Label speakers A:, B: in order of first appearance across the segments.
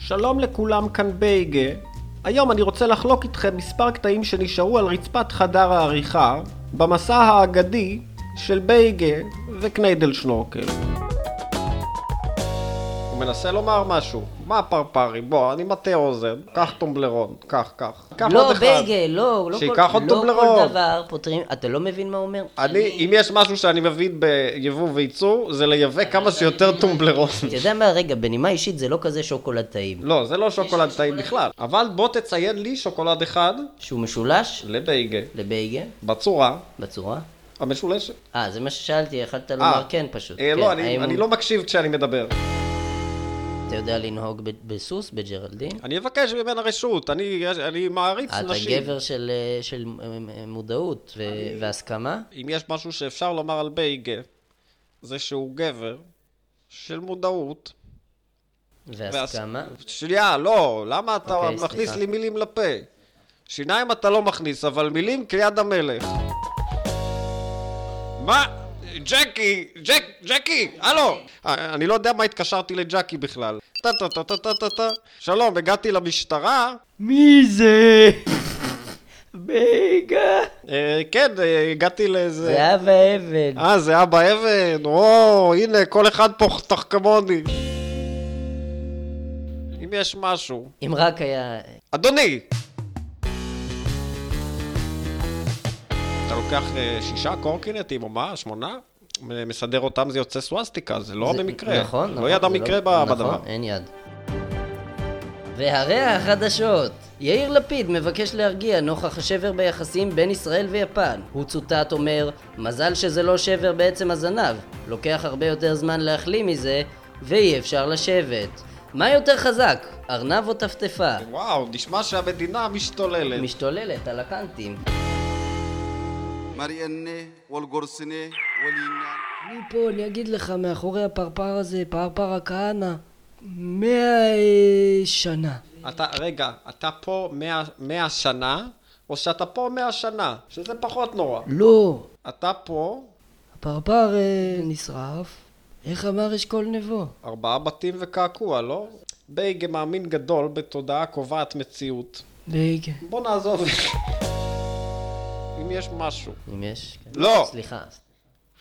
A: שלום לכולם כאן בייגה. היום אני רוצה לחלוק איתכם מספר קטעים שנשארו על רצפת חדר העריכה במסע האגדי של בייגה וקניידל שנורקל. הוא מנסה לומר משהו. מה פרפרי? בוא, אני מטה אוזן. קח טומבלרון. קח, קח. קח
B: לא,
A: עוד אחד.
B: בייגה, לא, לא
A: שייקח
B: כל,
A: עוד
B: לא
A: טובלרון.
B: כל דבר פותרים, אתה לא מבין מה הוא אומר?
A: אני, אם יש משהו שאני מבין ביבוא וייצור, זה לייבא כמה שיותר טומבלרון.
B: אתה יודע מה, רגע, בנימה אישית זה לא כזה שוקולד טעים.
A: לא, זה לא שוקולד טעים בכלל. אבל בוא תציין לי שוקולד אחד
B: שהוא משולש
A: לבייגה,
B: לבייגה,
A: בצורה
B: בצורה.
A: המשולשת.
B: אה, זה מה ששאלתי, יכלת
A: אה,
B: לומר כן פשוט.
A: אה,
B: כן,
A: לא, אני-
B: האם
A: אני
B: הוא-
A: לא מקשיב כשאני מדבר.
B: אתה יודע לנהוג ב- בסוס, בג'רלדין?
A: אני אבקש ממנה רשות, אני אני מעריץ
B: אתה
A: נשים.
B: גבר של, אה, של אה, אה, מודעות ו- והסכמה?
A: אם יש משהו שאפשר לומר על בייגה, זה שהוא גבר של מודעות.
B: והסכמה?
A: והס- שנייה, לא, למה אתה
B: אוקיי,
A: מכניס
B: סליחה.
A: לי מילים לפה? שיניים אתה לא מכניס, אבל מילים כיד המלך. מה? ג'קי, ג'ק, ג'קי, הלו! אה, אני לא יודע מה התקשרתי לג'קי בכלל. טה טה טה טה טה טה טה. שלום, הגעתי למשטרה.
B: מי זה? בייגה!
A: אה, כן, אה, הגעתי לאיזה...
B: זהב האבן.
A: אה, זה אבא אבן, או, הנה, כל אחד פה חתך כמוני. אם יש משהו...
B: אם רק היה...
A: אדוני! אתה לוקח אה, שישה קורקינטים או מה? שמונה? מ- מסדר אותם, זה יוצא סוואסטיקה, זה לא
B: זה-
A: במקרה.
B: נכון, נכון.
A: לא ידע
B: זה
A: מקרה ב-
B: נכון,
A: בדבר.
B: אין יד. והרי החדשות, יאיר לפיד מבקש להרגיע נוכח השבר ביחסים בין ישראל ויפן. הוא צוטט אומר, מזל שזה לא שבר בעצם הזנב, לוקח הרבה יותר זמן להחלים מזה, ואי אפשר לשבת. מה יותר חזק, ארנב או טפטפה?
A: וואו, נשמע שהמדינה משתוללת.
B: משתוללת על הקנטים.
C: مريني والقرسني والينان
B: אני פה, אני אגיד לך, מאחורי הפרפר הזה, פרפר הכהנא, מאה שנה.
A: אתה, רגע, אתה פה מאה- מאה שנה, או שאתה פה מאה שנה, שזה פחות נורא.
B: לא,
A: אתה פה
B: הפרפר אה, נשרף, איך אמר אשכול נבו?
A: ארבעה בתים וקעקוע, לא? בייגה מאמין גדול בתודעה קובעת מציאות.
B: בייגה.
A: בוא נעזוב. אם יש משהו
B: אם יש... כן.
A: לא.
B: סליחה.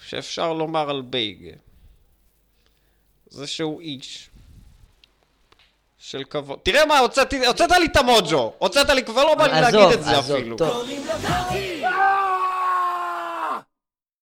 A: שאפשר לומר על בייגה, זה שהוא איש של כבוד. לא, תראה מה, הוצאתי, הוצאת לי את המוג'ו! הוצאת לי, כבר לא בא לי להגיד את זה
B: עזוב,
A: אפילו.
B: טוב.